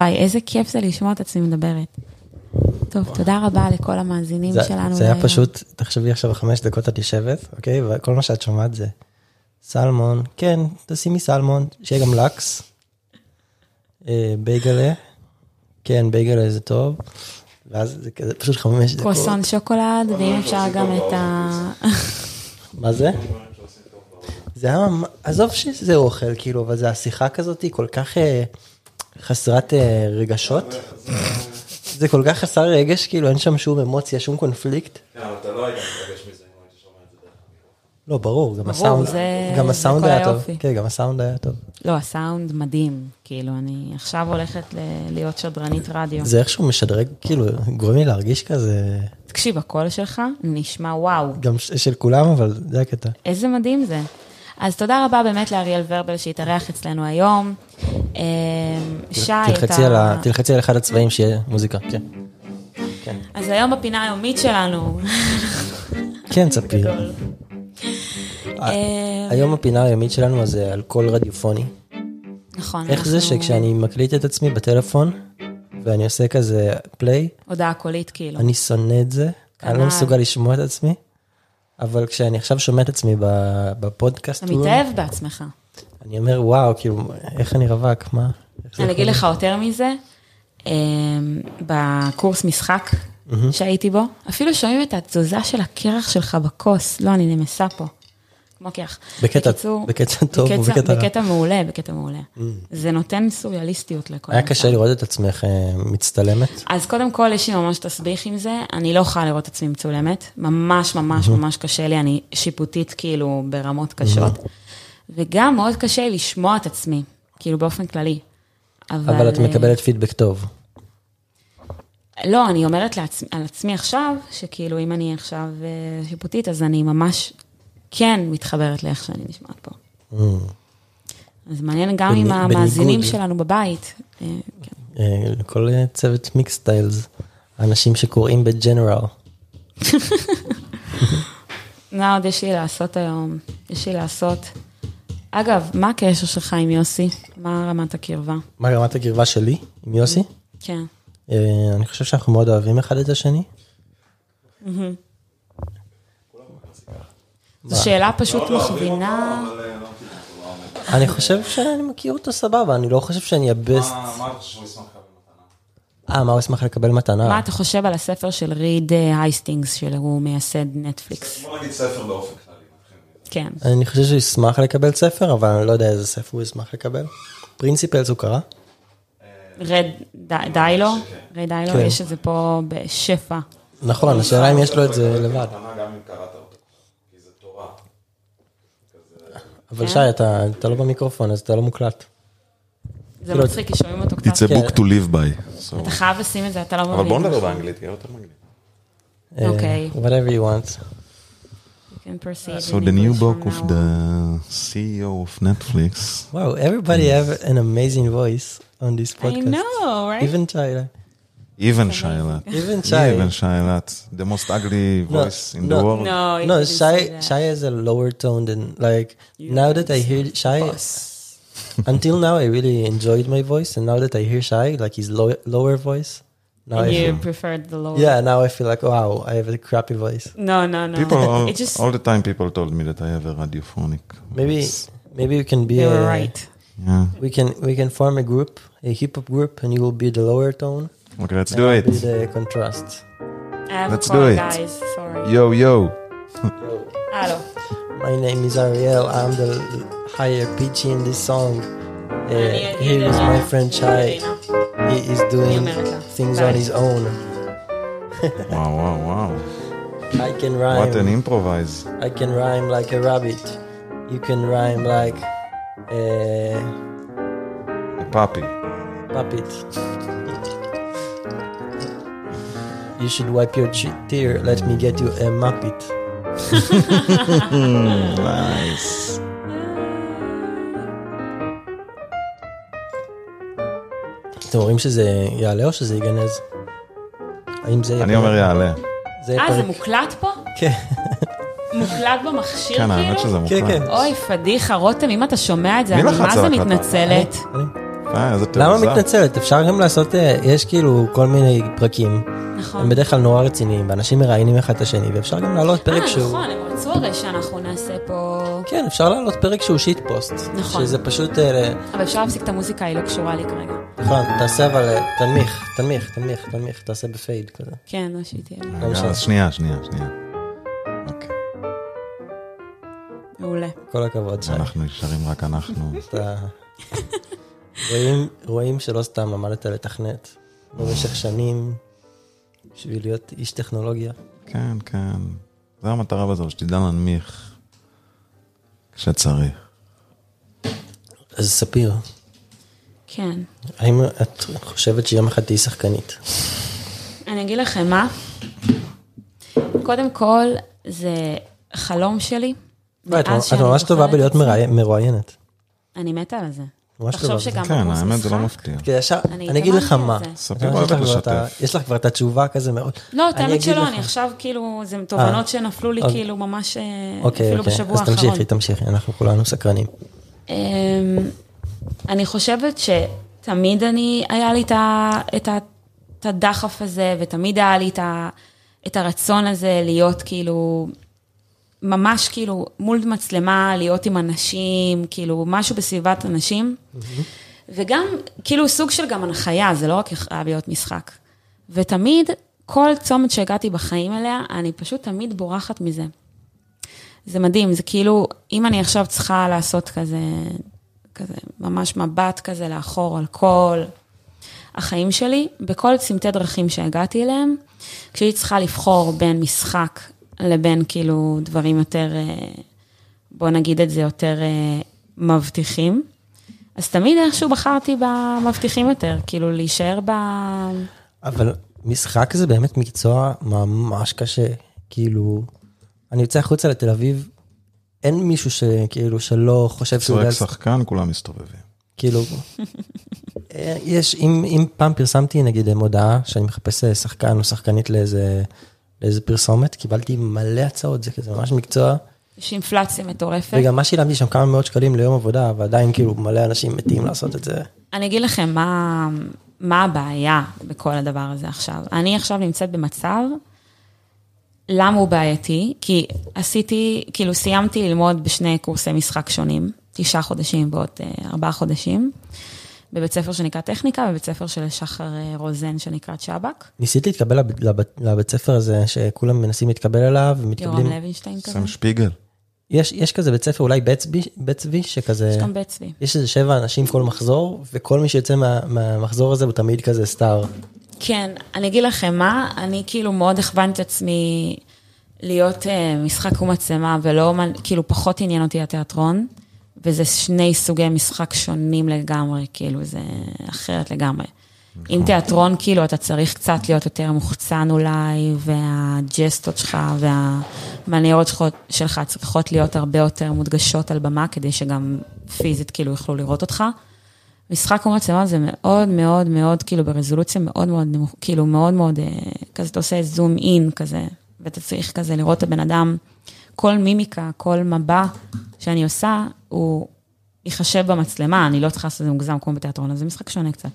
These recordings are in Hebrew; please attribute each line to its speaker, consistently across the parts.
Speaker 1: וואי, איזה כיף זה לשמוע את עצמי מדברת. טוב, תודה רבה לכל המאזינים שלנו.
Speaker 2: זה היה פשוט, תחשבי עכשיו חמש דקות את יושבת, אוקיי? וכל מה שאת שומעת זה סלמון, כן, תשימי סלמון, שיהיה גם לקס. אה, בייגלה, כן, בייגלה זה טוב. ואז זה כזה פשוט חמש דקות.
Speaker 1: קרוסון שוקולד, ואם אפשר גם את ה...
Speaker 2: מה זה? זה היה, ממ- עזוב שזה אוכל, כאילו, אבל זה השיחה כזאת, היא כל כך אה, חסרת אה, רגשות. זה כל כך חסר רגש, כאילו, אין שם שום אמוציה, שום קונפליקט.
Speaker 3: כן, אבל אתה לא היית מתרגש מזה אם היית שומע את זה דרך המיקרופון.
Speaker 2: לא, ברור, גם הסאונד,
Speaker 1: זה-
Speaker 2: גם
Speaker 1: זה
Speaker 2: הסאונד
Speaker 1: כל
Speaker 2: היה טוב.
Speaker 1: היופי.
Speaker 2: כן, גם הסאונד היה טוב.
Speaker 1: לא, הסאונד מדהים. כאילו, אני עכשיו הולכת ל- להיות שדרנית רדיו.
Speaker 2: זה איכשהו משדרג, כאילו, גורם לי להרגיש כזה,
Speaker 1: תקשיב, הקול שלך נשמע וואו.
Speaker 2: גם ש- של כולם, אבל זה הקטע.
Speaker 1: איזה מדהים זה. אז תודה רבה באמת לאריאל ורבל שהתארח אצלנו היום. אמ, שי,
Speaker 2: תלחצי על ה- תלחצי על אחד הצבעים שיהיה מוזיקה, כן.
Speaker 1: אז היום בפינה היומית שלנו.
Speaker 2: כן, ספיר.
Speaker 1: אה,
Speaker 2: היום הפינה היומית שלנו זה על קול רדיופוני.
Speaker 1: נכון.
Speaker 2: איך זה
Speaker 1: אנחנו-
Speaker 2: שכשאני מקליט את עצמי בטלפון, ואני עושה כזה פליי,
Speaker 1: הודעה קולית, כאילו.
Speaker 2: אני שונא את זה, אני
Speaker 1: כנ"ל.
Speaker 2: לא מסוגל לשמוע את עצמי, אבל כשאני עכשיו שומע את עצמי ב- בפודקאסט,
Speaker 1: אתה
Speaker 2: הוא-
Speaker 1: מתאהב בעצמך.
Speaker 2: אני אומר, וואו, כאילו, איך אני רווק, מה? איך זה
Speaker 1: אני
Speaker 2: יכול
Speaker 1: אגיד לך יותר מזה, אמ, בקורס משחק שהייתי בו, אפילו שומעים את התזוזה של הקרח שלך בכוס, לא, אני נמסה פה, כמו קרח.
Speaker 2: בקטע-
Speaker 1: בקיצור,
Speaker 2: בקטע טוב
Speaker 1: בקטע-
Speaker 2: ובקטע רע. Mm.
Speaker 1: בקטע מעולה, בקטע מעולה. זה נותן סוריאליסטיות לכל
Speaker 2: היה
Speaker 1: המצב.
Speaker 2: קשה לראות את עצמך אה, מצטלמת?
Speaker 1: אז קודם כל, יש לי ממש תסביך עם זה, אני לא יכולה לראות עצמי מצולמת, ממש ממש ממש קשה לי, אני שיפוטית כאילו ברמות קשות, וגם מאוד קשה לי לשמוע את עצמי, כאילו באופן כללי. אבל,
Speaker 2: אבל את
Speaker 1: אה,
Speaker 2: מקבלת פידבק טוב.
Speaker 1: לא, אני אומרת לעצמי, על עצמי עכשיו, שכאילו אם אני עכשיו אה, שיפוטית, אז אני ממש כן מתחברת לאיך שאני נשמעת פה.
Speaker 2: Mm.
Speaker 1: אז מעניין גם עם
Speaker 2: בני-
Speaker 1: המאזינים
Speaker 2: בניגוד.
Speaker 1: שלנו בבית. אה, כן.
Speaker 2: אה, לכל אה, צוות מיקס סטיילס, אנשים שקוראים בג'נרל.
Speaker 1: מה עוד יש לי לעשות היום? יש לי לעשות... אגב, מה הקשר שלך עם יוסי? מה רמת הקרבה?
Speaker 2: מה רמת הקרבה שלי עם יוסי?
Speaker 1: כן.
Speaker 2: אה, אני חושב שאנחנו מאוד אוהבים אחד את השני.
Speaker 1: זו שאלה פשוט מכווינה.
Speaker 3: אבל אה, לא אמרתי לך, הוא לא עומד.
Speaker 2: אני חושב שאני מכיר אותו סבבה, אני לא חושב שאני הבסט.
Speaker 3: מה- מה אתה חושב שהוא ישמח לקבל מתנה?
Speaker 2: אה, מה הוא ישמח לקבל
Speaker 1: מה
Speaker 3: לא.
Speaker 2: מתנה?
Speaker 1: אתה חושב על הספר של ריד אה, הייסטינגס, שהוא מייסד נטפליקס?
Speaker 3: בוא נגיד ספר באופן כללי. נתחיל מזה.
Speaker 1: כן.
Speaker 2: אני חושב שהוא ישמח לקבל ספר, אבל אני לא יודע איזה ספר הוא ישמח לקבל. פרינסיפלס הוא קרא?
Speaker 1: רד ד- דיילו,
Speaker 3: שכן.
Speaker 1: רד דיילו,
Speaker 2: כן.
Speaker 1: יש את זה פה בשפע. אה,
Speaker 2: נכון, השאלה אם יש לו את זה
Speaker 3: אתה
Speaker 2: לבד.
Speaker 3: מקבל מתנה גם אם קראת אותו. כי זה תורה.
Speaker 2: אבל שי, אתה אתה לא במיקרופון, אז אתה לא מוקלט.
Speaker 1: זה
Speaker 2: כאילו,
Speaker 1: מצחיק, כי שומעים אותו קצת.
Speaker 3: It's a book to live by. so-
Speaker 1: אתה חייב לשים את זה, אתה לא מבין.
Speaker 3: אבל בוא נדבר באנגלית, יהיה יותר מגניב.
Speaker 2: אה,
Speaker 1: אוקיי.
Speaker 2: Uh, whatever you want.
Speaker 1: You can proceed
Speaker 3: So
Speaker 1: in
Speaker 3: the new
Speaker 1: English
Speaker 3: book
Speaker 1: from
Speaker 3: of
Speaker 1: now
Speaker 3: the
Speaker 1: on.
Speaker 3: CEO of Netflix.
Speaker 2: Wow, everybody have an amazing voice on this
Speaker 1: I
Speaker 2: podcast.
Speaker 1: know, right?
Speaker 2: Even Tyler.
Speaker 3: Even Shilat.
Speaker 2: Even Shai.
Speaker 3: Even Shilat. The most ugly
Speaker 2: No,
Speaker 3: voice in the
Speaker 2: no.
Speaker 3: world.
Speaker 1: No, Oh, you
Speaker 2: No,
Speaker 1: didn't say
Speaker 2: Shai,
Speaker 1: that.
Speaker 2: Shai has a lower tone than, like, now that I hear Shai, until now I really enjoyed my voice, and now that I hear Shai, like his low, lower voice, now I
Speaker 1: And you
Speaker 2: feel,
Speaker 1: preferred the lower.
Speaker 2: yeah, now I feel like wow, I have a crappy voice.
Speaker 1: No, no, no.
Speaker 3: People all,
Speaker 1: It just,
Speaker 3: all the time people told me that I have a radiophonic.
Speaker 2: Maybe
Speaker 3: voice.
Speaker 2: maybe we can be
Speaker 1: they were
Speaker 2: a,
Speaker 1: right.
Speaker 3: Yeah.
Speaker 2: We can we can form a group, a hip hop group, and you will be the lower tone.
Speaker 3: Okay, let's
Speaker 2: and
Speaker 3: do
Speaker 2: I'll
Speaker 3: it.
Speaker 2: Be the contrast.
Speaker 1: I have a
Speaker 3: Let's
Speaker 1: call,
Speaker 3: do it.
Speaker 1: guys. Sorry.
Speaker 3: Yo, yo.
Speaker 1: הלו.
Speaker 2: My name is Ariel. I'm the l- higher pitch in this song. Uh, here is my friend Chai. He is doing things on his own.
Speaker 3: Wow, wow, wow.
Speaker 2: I can rhyme.
Speaker 3: What an improvise.
Speaker 2: I can rhyme like a rabbit. You can rhyme like uh, a
Speaker 3: A puppy.
Speaker 2: puppet. You should wipe your che- tear. Let me get you a muppet.
Speaker 3: Nice.
Speaker 2: אתם אומרים שזה יעלה או שזה ייגנז? האם זה...
Speaker 3: אני אומר יעלה.
Speaker 2: זה יהיה
Speaker 1: אה, זה
Speaker 2: פרק...
Speaker 1: מוקלט פה?
Speaker 2: כן,
Speaker 1: מוקלט במכשיר
Speaker 3: כן, האמת
Speaker 1: כאילו?
Speaker 3: שזה
Speaker 2: כן,
Speaker 3: מוכן.
Speaker 2: כן.
Speaker 1: אוי, פדיחה, רותם, אם אתה שומע את זה,
Speaker 3: מי
Speaker 1: אני
Speaker 3: לחץ
Speaker 1: מה
Speaker 3: על
Speaker 1: זה
Speaker 3: הקלטה?
Speaker 1: מתנצלת.
Speaker 2: אני-
Speaker 3: אה, איזה תעוזה.
Speaker 2: למה מתנצלת? אפשר גם לעשות, אה, יש כאילו כל מיני פרקים,
Speaker 1: נכון.
Speaker 2: הם בדרך כלל נורא רציניים, ואנשים מראיינים אחד את השני, ואפשר גם להעלות פרק
Speaker 1: אה,
Speaker 2: שהוא...
Speaker 1: נכון, הם רצו הרי שאנחנו נעשה פה...
Speaker 2: כן, אפשר להעלות פרק שהוא שיט פוסט.
Speaker 1: נכון.
Speaker 2: שזה פשוט... אה,
Speaker 1: אבל אפשר להפסיק את המוזיקה, היא לא קשורה לי כרגע.
Speaker 2: נכון, תעשה אבל... אה, תנמיך, תנמיך, תנמיך, תנמיך, תעשה בפייד כזה.
Speaker 1: כן, לא שהיא תהיה.
Speaker 3: רגע,
Speaker 2: לא משנה.
Speaker 3: אז שנייה, שנייה, שנייה. אוקיי,
Speaker 1: מעולה.
Speaker 2: כל הכבוד שי.
Speaker 3: אנחנו נשארים רק אנחנו.
Speaker 2: אתה... רואים, רואים שלא סתם למדת לתכנת במשך שנים בשביל להיות איש טכנולוגיה.
Speaker 3: כן, כן. זה המטרה בזו, שתדע להנמיך כשצריך.
Speaker 2: אז ספיר,
Speaker 1: כן.
Speaker 2: האם את חושבת שיום אחד תהיי שחקנית?
Speaker 1: אני אגיד לכם מה. קודם כל, זה חלום שלי.
Speaker 2: לא,
Speaker 1: מאז
Speaker 2: את את
Speaker 1: אה, שאני
Speaker 2: ממש טובה
Speaker 1: זוכרת
Speaker 2: בלהיות
Speaker 1: את עצמי.
Speaker 2: מראי- מרואיינת.
Speaker 1: אני מתה על זה.
Speaker 2: ממש
Speaker 1: תחשוב
Speaker 2: טובה.
Speaker 1: שגם
Speaker 3: כן,
Speaker 1: בקורס
Speaker 3: האמת זה לא
Speaker 1: משחק-
Speaker 3: מפתיע.
Speaker 2: כי ישר,
Speaker 1: אני
Speaker 2: אני אגיד לך
Speaker 1: התאמנתי על
Speaker 2: מה.
Speaker 1: זה.
Speaker 3: ספיר
Speaker 2: יש לך
Speaker 3: אוהבת
Speaker 2: כבר את ה-
Speaker 3: לשתף.
Speaker 2: יש לך כבר את התשובה כזה מאוד.
Speaker 1: לא, את
Speaker 2: אני
Speaker 1: האמת
Speaker 2: אגיד
Speaker 1: שלא,
Speaker 2: לך.
Speaker 1: אני עכשיו כאילו, זה תובנות שנפלו לי
Speaker 2: אוקיי.
Speaker 1: כאילו ממש, אה,
Speaker 2: אוקיי,
Speaker 1: אפילו
Speaker 2: אוקיי,
Speaker 1: בשבוע
Speaker 2: אז
Speaker 1: האחרון.
Speaker 2: תמשיכי, תמשיכי, אנחנו כולנו סקרנים.
Speaker 1: אמ, אני חושבת שתמיד אני, היה לי את, ה, את, ה, את הדחף הזה, ותמיד היה לי את, ה, את הרצון הזה להיות כאילו, ממש כאילו מול מצלמה, להיות עם אנשים, כאילו משהו בסביבת אנשים. וגם, כאילו סוג של גם הנחיה, זה לא רק חייב להיות משחק. ותמיד, כל צומת שהגעתי בחיים אליה, אני פשוט תמיד בורחת מזה. זה מדהים, זה כאילו, אם אני עכשיו צריכה לעשות כזה, כזה, ממש מבט כזה לאחור על כל החיים שלי, בכל צמתי דרכים שהגעתי אליהם, כשהיא צריכה לבחור בין משחק לבין כאילו דברים יותר, אה, בוא נגיד את זה, יותר אה, מבטיחים, אז תמיד איכשהו בחרתי במבטיחים יותר, כאילו להישאר ב...
Speaker 2: אבל משחק זה באמת מקצוע ממש קשה. כאילו, אני יוצא החוצה לתל אביב, אין מישהו שכאילו שלא חושב שהוא
Speaker 3: צועק
Speaker 2: יודע...
Speaker 3: שחקן, כולם מסתובבים.
Speaker 2: כאילו, אה, יש, אם, אם פעם פרסמתי נגיד אה, מודעה שאני מחפש אה, שחקן או שחקנית לאיזה, לאיזה פרסומת, קיבלתי מלא הצעות, זה כזה ממש מקצוע.
Speaker 1: יש אינפלציה מטורפת.
Speaker 2: וגם מה שילמתי שם כמה מאות שקלים ליום עבודה, ועדיין כאילו מלא אנשים מתים לעשות את זה.
Speaker 1: אני אגיד לכם מה, מה הבעיה בכל הדבר הזה עכשיו. אני עכשיו נמצאת במצב, למה הוא בעייתי? כי עשיתי, כאילו סיימתי ללמוד בשני קורסי משחק שונים, תשעה חודשים ועוד אה, ארבעה חודשים, בבית ספר שנקרא טכניקה, ובבית ספר של שחר אה, רוזן שנקרא צ'אבק,
Speaker 2: ניסית להתקבל לב, לב, לבית ספר הזה שכולם מנסים להתקבל אליו, ומתקבלים...
Speaker 1: יורם לוינשטיין כזה,
Speaker 3: סם שפיגל.
Speaker 2: יש, יש כזה בית ספר, אולי בית צבי, בית צבי שכזה,
Speaker 1: יש גם בית צבי.
Speaker 2: יש איזה שבע אנשים כל מחזור, וכל מי שיוצא מה, מהמחזור הזה הוא תמיד כזה סטאר.
Speaker 1: כן, אני אגיד לכם מה, אני כאילו מאוד הכוונתי את עצמי להיות אה, משחק ומצלמה, ולא, מע- כאילו פחות עניין אותי התיאטרון, וזה שני סוגי משחק שונים לגמרי, כאילו זה אחרת לגמרי. עם תיאטרון, כאילו, אתה צריך קצת להיות יותר מוחצן אולי, והג'סטות שלך והמניירות שלך- שלך צריכות להיות הרבה יותר מודגשות על במה, כדי שגם פיזית, כאילו, יוכלו לראות אותך. משחק כמו מצלמה זה מאוד מאוד מאוד, כאילו ברזולוציה מאוד מאוד נמוך, כאילו מאוד מאוד, אה, כזה אתה עושה זום אין כזה, ואתה צריך כזה לראות את הבן אדם, כל מימיקה, כל מבע שאני עושה, הוא ייחשב במצלמה, אני לא צריכה לעשות את זה מוגזם כמו בתיאטרון, אז זה משחק שונה קצת.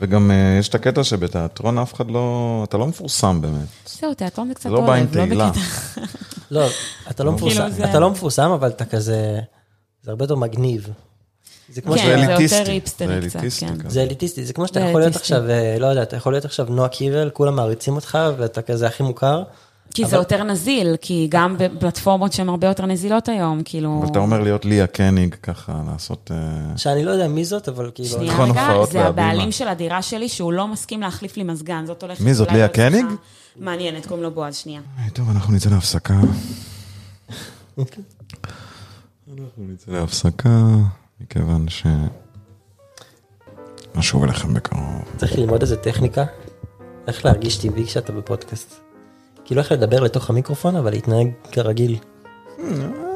Speaker 3: וגם אה, יש את הקטע שבתיאטרון אף אחד לא... אתה לא מפורסם באמת.
Speaker 1: זהו, תיאטרון זה קצת
Speaker 3: זה לא בא עם
Speaker 1: לא
Speaker 3: תהילה.
Speaker 1: בקטע.
Speaker 2: לא, אתה לא מפורסם,
Speaker 1: זה-
Speaker 2: אתה לא מפורסם, אבל אתה כזה, זה הרבה יותר מגניב. זה כמו
Speaker 1: כן,
Speaker 2: שאתה-
Speaker 1: זה
Speaker 3: אליטיסטי.
Speaker 1: יותר היפסטרי
Speaker 3: זה
Speaker 1: קצת,
Speaker 3: אליטיסטי
Speaker 1: כן.
Speaker 3: כזה.
Speaker 2: זה אליטיסטי, זה כמו שאתה
Speaker 1: זה
Speaker 2: יכול להיות
Speaker 1: אליטיסטי.
Speaker 2: עכשיו, אה, לא יודע, אתה יכול להיות עכשיו נועה קירל, כולם מעריצים אותך, ואתה כזה הכי מוכר.
Speaker 1: כי זה יותר נזיל, כי גם בפלטפורמות שהן הרבה יותר נזילות היום, כאילו...
Speaker 3: אבל אתה אומר להיות ליה קניג ככה, לעשות... אה,
Speaker 2: שאני לא יודע מי זאת, אבל כאילו,
Speaker 1: שנייה
Speaker 3: נכון,
Speaker 1: רגע,
Speaker 3: הופעות
Speaker 1: זה
Speaker 3: והבימה.
Speaker 1: הבעלים של הדירה שלי, שהוא לא מסכים להחליף לי מזגן, זאת הולכת...
Speaker 3: מי זאת,
Speaker 1: אולי
Speaker 3: ליה
Speaker 1: להיות שיחה
Speaker 3: קניג?
Speaker 1: מעניינת, קוראים לו בועז, שנייה.
Speaker 3: היי, אה, טוב, אנחנו נצא להפסקה. אוקיי. אנחנו נצא להפסקה, מכיוון ש... נשוב אליכם בקרוב.
Speaker 2: צריך ללמוד איזה טכניקה, איך להרגיש טבעי כשאתה בפודקאסט. כאילו איך לדבר לתוך המיקרופון, אבל להתנהג כרגיל.
Speaker 3: אה,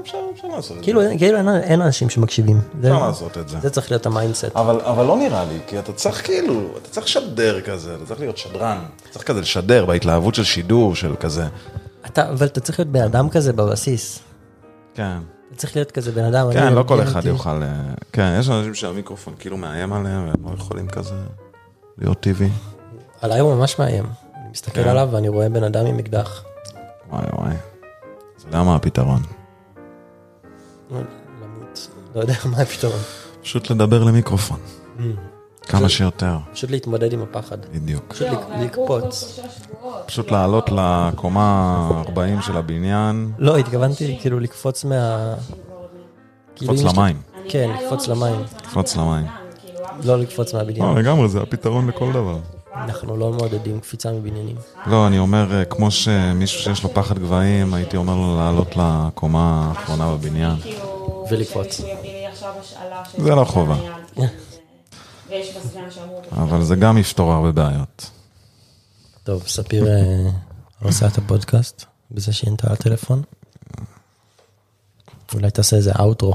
Speaker 3: אפשר לעשות את
Speaker 2: כאילו אין- כאילו אין- אין אנשים שמקשיבים. זה-
Speaker 3: אפשר לעשות את זה.
Speaker 2: זה צריך להיות המיינדסט.
Speaker 3: אבל, אבל לא נראה לי, כי אתה צריך כאילו, אתה צריך לשדר כזה, אתה צריך להיות שדרן. אתה צריך כזה לשדר בהתלהבות של שידור, של כזה.
Speaker 2: אתה, אבל אתה צריך להיות בן אדם כזה בבסיס.
Speaker 3: כן.
Speaker 2: אתה צריך להיות כזה בן אדם.
Speaker 3: כן,
Speaker 2: אני
Speaker 3: לא כל
Speaker 2: מעניין
Speaker 3: אחד
Speaker 2: אותי.
Speaker 3: יוכל... אה, כן, יש אנשים שהמיקרופון כאילו מאיים עליהם, והם לא יכולים כזה להיות טבעי.
Speaker 2: עליי הוא ממש מאיים. אני מסתכל
Speaker 3: כן.
Speaker 2: עליו ואני רואה בן אדם עם אקדח.
Speaker 3: וואי וואי. אתה יודע מה הפתרון?
Speaker 2: למות. לא יודע מה הפתרון.
Speaker 3: פשוט לדבר למיקרופון.
Speaker 2: Mm.
Speaker 3: כמה שיותר,
Speaker 2: פשוט להתמודד עם הפחד.
Speaker 3: בדיוק.
Speaker 2: פשוט לק- לקפוץ.
Speaker 3: פשוט לעלות לקומה 40 של הבניין,
Speaker 2: לא, התכוונתי כאילו לקפוץ מה... כאילו,
Speaker 3: לקפוץ
Speaker 2: אם יש לי-
Speaker 3: למים.
Speaker 2: כן, לקפוץ למים.
Speaker 3: לקפוץ למים.
Speaker 2: לא לקפוץ מהבניין.
Speaker 3: לא, לגמרי, זה הפתרון לכל דבר.
Speaker 2: אנחנו לא מעודדים קפיצה מבניינים.
Speaker 3: לא, אני אומר, אה, כמו שמישהו שיש לו פחד גבהים, הייתי אומר לו לעלות לקומה האחרונה בבניין.
Speaker 2: ולקפוץ.
Speaker 3: זה לא חובה.
Speaker 1: ויש בסגן שאמור...
Speaker 3: אבל זה גם יפתור הרבה בעיות.
Speaker 2: טוב, ספיר אה, עושה את הפודקאסט בזה שהיא ענתה לטלפון. אולי תעשה איזה אאוטרו.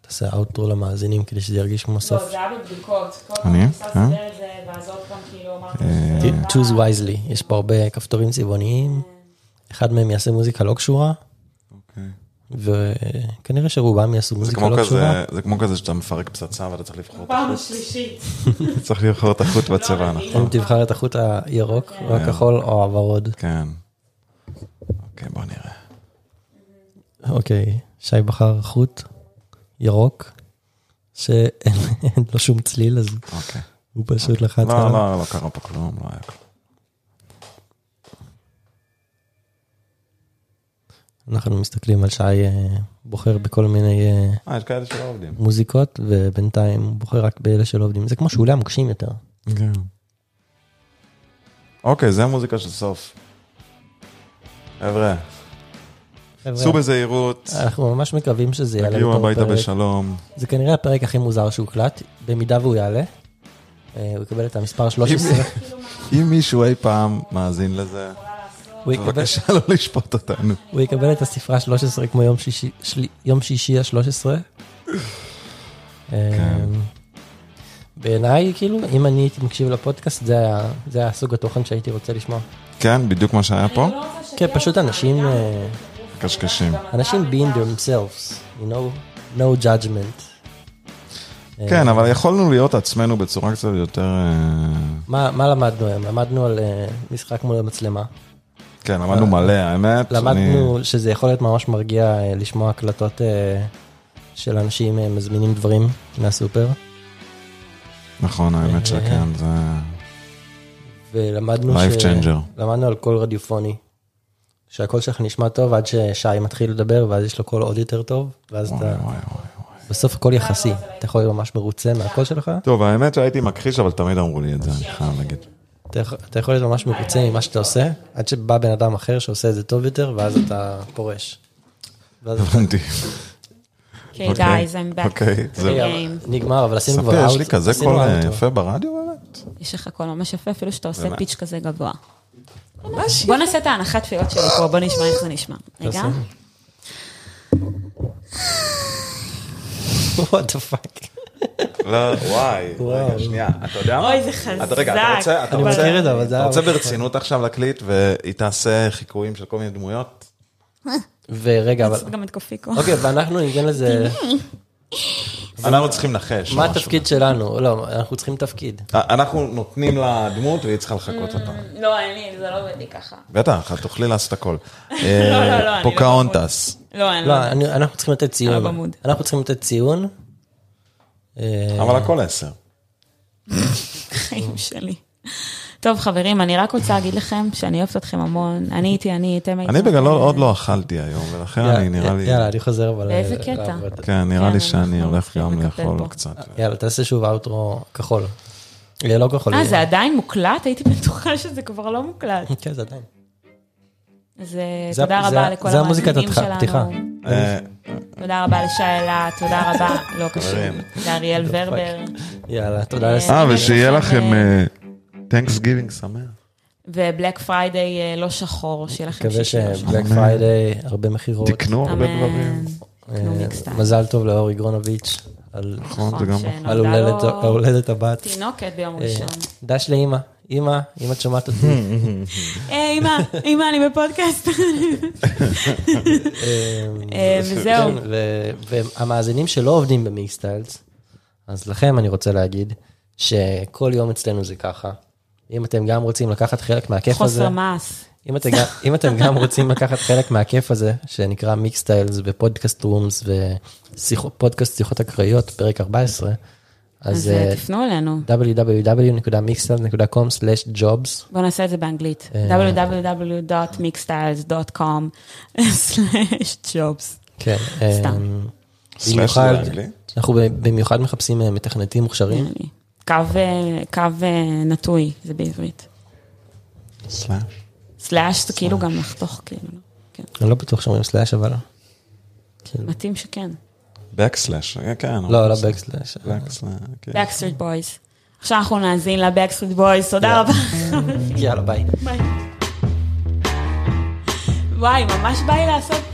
Speaker 2: תעשה אאוטרו למאזינים כדי שזה ירגיש כמו סוף.
Speaker 1: לא, זה היה בבדיקות. כל פעם
Speaker 3: אני?
Speaker 1: ניסה
Speaker 3: אה?
Speaker 1: לסדר את זה, ואז עוד פעם כאילו אמרתי...
Speaker 2: choose wisely, יש פה הרבה כפתורים צבעוניים, אחד מהם יעשה מוזיקה לא קשורה,
Speaker 3: אוקיי.
Speaker 2: וכנראה שרובם יעשו
Speaker 3: זה
Speaker 2: מוזיקה
Speaker 3: כמו
Speaker 2: לא קשורה.
Speaker 3: כזה, זה כמו כזה שאתה מפרק פצצה ואתה צריך לבחור את
Speaker 1: פעם השלישית.
Speaker 3: החוט. צריך לבחור את החוט בצבע נכון. הנכון.
Speaker 2: אם תבחר את החוט הירוק, או הכחול, או הוורוד.
Speaker 3: כן. אוקיי, בוא נראה.
Speaker 2: אוקיי, שי בחר חוט ירוק, שאין אין לו שום צליל, אז
Speaker 3: אוקיי.
Speaker 2: הוא פשוט לחץ
Speaker 3: לא,
Speaker 2: עליו.
Speaker 3: לא, לא קרה פה כלום, לא היה כלום.
Speaker 2: אנחנו מסתכלים על שי אה, בוחר בכל מיני אה,
Speaker 3: אה, יש כאלה שלא עובדים.
Speaker 2: מוזיקות, ובינתיים הוא בוחר רק באלה שלא עובדים. זה כמו שאולי המוקשים יותר.
Speaker 3: כן. אוקיי, זה המוזיקה של סוף. חבר'ה, סעו בזהירות,
Speaker 2: אנחנו ממש מקווים שזה יעלה
Speaker 3: תגיעו
Speaker 2: בתור
Speaker 3: הביתה
Speaker 2: אה, פרק.
Speaker 3: בשלום.
Speaker 2: זה כנראה הפרק הכי מוזר שהוקלט, במידה והוא יעלה. אה, הוא יקבל את המספר 13,
Speaker 3: אם מישהו אי פעם מאזין לזה,
Speaker 2: הוא יקבל-
Speaker 3: בבקשה לא לשפוט אותנו.
Speaker 2: הוא יקבל את הספרה 13 כמו יום שישי- של- יום שישי ה-13.
Speaker 3: כן.
Speaker 2: אמ, בעיניי, כאילו, אם אני הייתי מקשיב לפודקאסט, זה היה- זה היה סוג התוכן שהייתי רוצה לשמוע.
Speaker 3: כן, בדיוק מה שהיה פה,
Speaker 2: כן, פשוט אנשים, אה,
Speaker 3: קשקשים.
Speaker 2: אנשים being themselves, you know, no judgment. אה,
Speaker 3: כן, אבל יכולנו להיות עצמנו בצורה קצת יותר... אה,
Speaker 2: מה מה למדנו היום? למדנו על אה, משחק מול המצלמה.
Speaker 3: כן, למדנו מלא, האמת. אני-
Speaker 2: למדנו שזה יכול להיות ממש מרגיע אה, לשמוע הקלטות אה, של אנשים אה, מזמינים דברים מהסופר,
Speaker 3: נכון, האמת שכן, זה...
Speaker 2: ולמדנו
Speaker 3: Life changer.
Speaker 2: למדנו על קול רדיופוני, שהקול שלך נשמע טוב עד ששי מתחיל לדבר ואז יש לו קול עוד יותר טוב, ואז
Speaker 3: וואי,
Speaker 2: אתה,
Speaker 3: וואי, וואי.
Speaker 2: בסוף הכל יחסי, אתה יכול להיות ממש מרוצה מהקול שלך,
Speaker 3: טוב, האמת שהייתי מכחיש, אבל תמיד אמרו לי את זה, אני חייב להגיד.
Speaker 2: אתה יכול- אתה יכול להיות ממש מרוצה ממה שאתה עושה, עד שבא בן אדם אחר שעושה את זה טוב יותר ואז אתה פורש. ואז-
Speaker 3: הבנתי.
Speaker 1: אוקיי,
Speaker 3: אוקיי.
Speaker 1: guys, I'm back.
Speaker 3: אוקיי, זהו.
Speaker 1: אוקיי,
Speaker 2: רגע, אבל אה, נגמר, אבל עשינו כבר
Speaker 3: ספר, יש לי
Speaker 2: out-
Speaker 3: כזה
Speaker 2: עשינו
Speaker 3: קול אה,
Speaker 2: out.
Speaker 3: יפה ברדיו באמת?
Speaker 1: יש לך קול ממש יפה, אפילו שאתה עושה
Speaker 3: באמת?
Speaker 1: פיץ' כזה גבוה. בוא נעשה את ההנחת תפילות שלי פה, בוא נשמע איך זה נשמע. רגע.
Speaker 2: תעשה. What the fuck.
Speaker 3: לא, וואי, רגע, שנייה, אתה יודע מה?
Speaker 1: אוי, זה חזק.
Speaker 3: אתה- רגע, אתה רוצה, אתה
Speaker 2: אני
Speaker 3: רוצה,
Speaker 2: מכיר את זה, אבל זה
Speaker 3: אתה
Speaker 2: היה
Speaker 3: רוצה
Speaker 2: ממש
Speaker 3: ברצינות עכשיו להקליט, והיא תעשה חיקויים של כל מיני דמויות?
Speaker 2: ורגע, אבל...
Speaker 1: גם את קופיקו.
Speaker 2: אוקיי, ואנחנו ניתן לזה...
Speaker 3: אנחנו צריכים לנחש.
Speaker 2: מה
Speaker 3: משהו.
Speaker 2: התפקיד שלנו? לא, אנחנו צריכים תפקיד.
Speaker 3: א- אנחנו נותנים לה דמות והיא צריכה לחקות אותה.
Speaker 1: לא, אין לי, זה לא עובד לי ככה.
Speaker 3: בטח, את תוכלי לעשות הכל.
Speaker 1: לא, לא, אני לא
Speaker 3: פוקאונטס.
Speaker 1: לא, אין
Speaker 2: לא,
Speaker 1: לי.
Speaker 2: אני- אנחנו צריכים לתת
Speaker 1: על
Speaker 2: ציון.
Speaker 1: הבמוד.
Speaker 2: אנחנו צריכים לתת ציון. אה,
Speaker 3: אבל הכל עשר.
Speaker 1: חיים שלי. טוב, חברים, אני רק רוצה להגיד לכם שאני אוהבת אתכם המון. אני הייתי, אני, אתם הייתם.
Speaker 3: אני בגדול עוד לא אכלתי היום, ולכן אני נראה לי...
Speaker 2: יאללה, אני חוזר אבל...
Speaker 1: באיזה
Speaker 2: אה,
Speaker 1: קטע?
Speaker 2: לעבוד.
Speaker 3: כן, נראה לי
Speaker 1: כן,
Speaker 3: שאני
Speaker 1: אנחנו
Speaker 3: הולך
Speaker 1: צריכים
Speaker 3: גם
Speaker 1: לקפל
Speaker 3: לאכול
Speaker 1: פה.
Speaker 3: קצת.
Speaker 2: יאללה, תעשה שוב אאוטרו כחול. אה, לא כחול.
Speaker 1: אה,
Speaker 2: אה.
Speaker 1: זה עדיין מוקלט? הייתי בטוחה שזה כבר לא מוקלט.
Speaker 2: כן, זה עדיין.
Speaker 1: אז אה,
Speaker 2: זה-
Speaker 1: תודה
Speaker 2: זה-
Speaker 1: רבה לכל
Speaker 2: זה המוזיקת
Speaker 1: המאזינים
Speaker 2: התח- הפתיחה.
Speaker 1: שלנו.
Speaker 3: אה,
Speaker 1: תודה רבה לשי אלה, תודה רבה, לא קשור,
Speaker 3: חברים.
Speaker 1: לאריאל ורבר,
Speaker 2: יאללה, תודה לס...
Speaker 3: אה,
Speaker 1: אני
Speaker 3: ושיהיה
Speaker 1: אגיד לכם,
Speaker 3: לכם אה, Thanksgiving שמח.
Speaker 1: ובלק פריידיי אה, לא שחור, שיהיה לכם
Speaker 2: מקווה
Speaker 1: שישי לא שחור.
Speaker 2: שבלק פריידיי, הרבה מכירות.
Speaker 3: תקנו הרבה דברים.
Speaker 1: אמן. תקנו
Speaker 2: אה,
Speaker 1: מיקסטייל.
Speaker 2: מזל טוב לאור יגרונוביץ' על
Speaker 3: נכון, זה גם...
Speaker 1: שנולדה
Speaker 2: על הולדת-
Speaker 1: לו
Speaker 2: ההולדת הבת.
Speaker 1: תינוקת ביום
Speaker 2: אה,
Speaker 1: ראשון.
Speaker 2: דש לאימא, אמא, אם את שומעת
Speaker 3: Hmm.
Speaker 2: אותי,
Speaker 1: היי, אמא, אמא, אה, אני בפודקאסט. אה, וזהו.
Speaker 2: כן, ו- והמאזינים שלא עובדים במיקס סטיילס, אז לכם אני רוצה להגיד שכל יום אצלנו זה ככה. אם אתם גם רוצים לקחת חלק מהכיף הזה,
Speaker 1: חוסר מעש.
Speaker 2: אם אתם, גם, אם אתם גם רוצים לקחת חלק מהכיף הזה, שנקרא מיקס סטיילס ופודקאסט רומס ופודקאסט שיחות אקראיות, פרק 14, אז
Speaker 1: אז אה, תפנו אלינו.
Speaker 2: www.mixstyle.com/jobs.
Speaker 1: בואו נעשה את זה באנגלית.
Speaker 2: אה.
Speaker 1: www.mixstyles.com/jobs.
Speaker 2: כן.
Speaker 1: סתם.
Speaker 2: אה,
Speaker 3: סלאש
Speaker 2: במיוחד-
Speaker 3: זה באנגלית?
Speaker 2: אנחנו במיוחד מחפשים אה, מתכנתים מוכשרים.
Speaker 1: Mm. קו אה, קו, אה, נטוי, זה בעברית.
Speaker 3: סלאש.
Speaker 1: סלאש זה כאילו גם לחתוך, כאילו. לא? כן.
Speaker 2: אני לא בטוח שאומרים סלאש, אבל... כאילו,
Speaker 1: מתאים שכן.
Speaker 3: Backslash, אה, כן.
Speaker 2: לא, לא בקסלאש.
Speaker 3: Backslash, כן.
Speaker 1: Backstreet Boys. עכשיו אנחנו נאזין ל-Backstreet Boys, תודה רבה.
Speaker 2: יאללה, ביי.
Speaker 1: ביי. וואי, ממש בא לי לעשות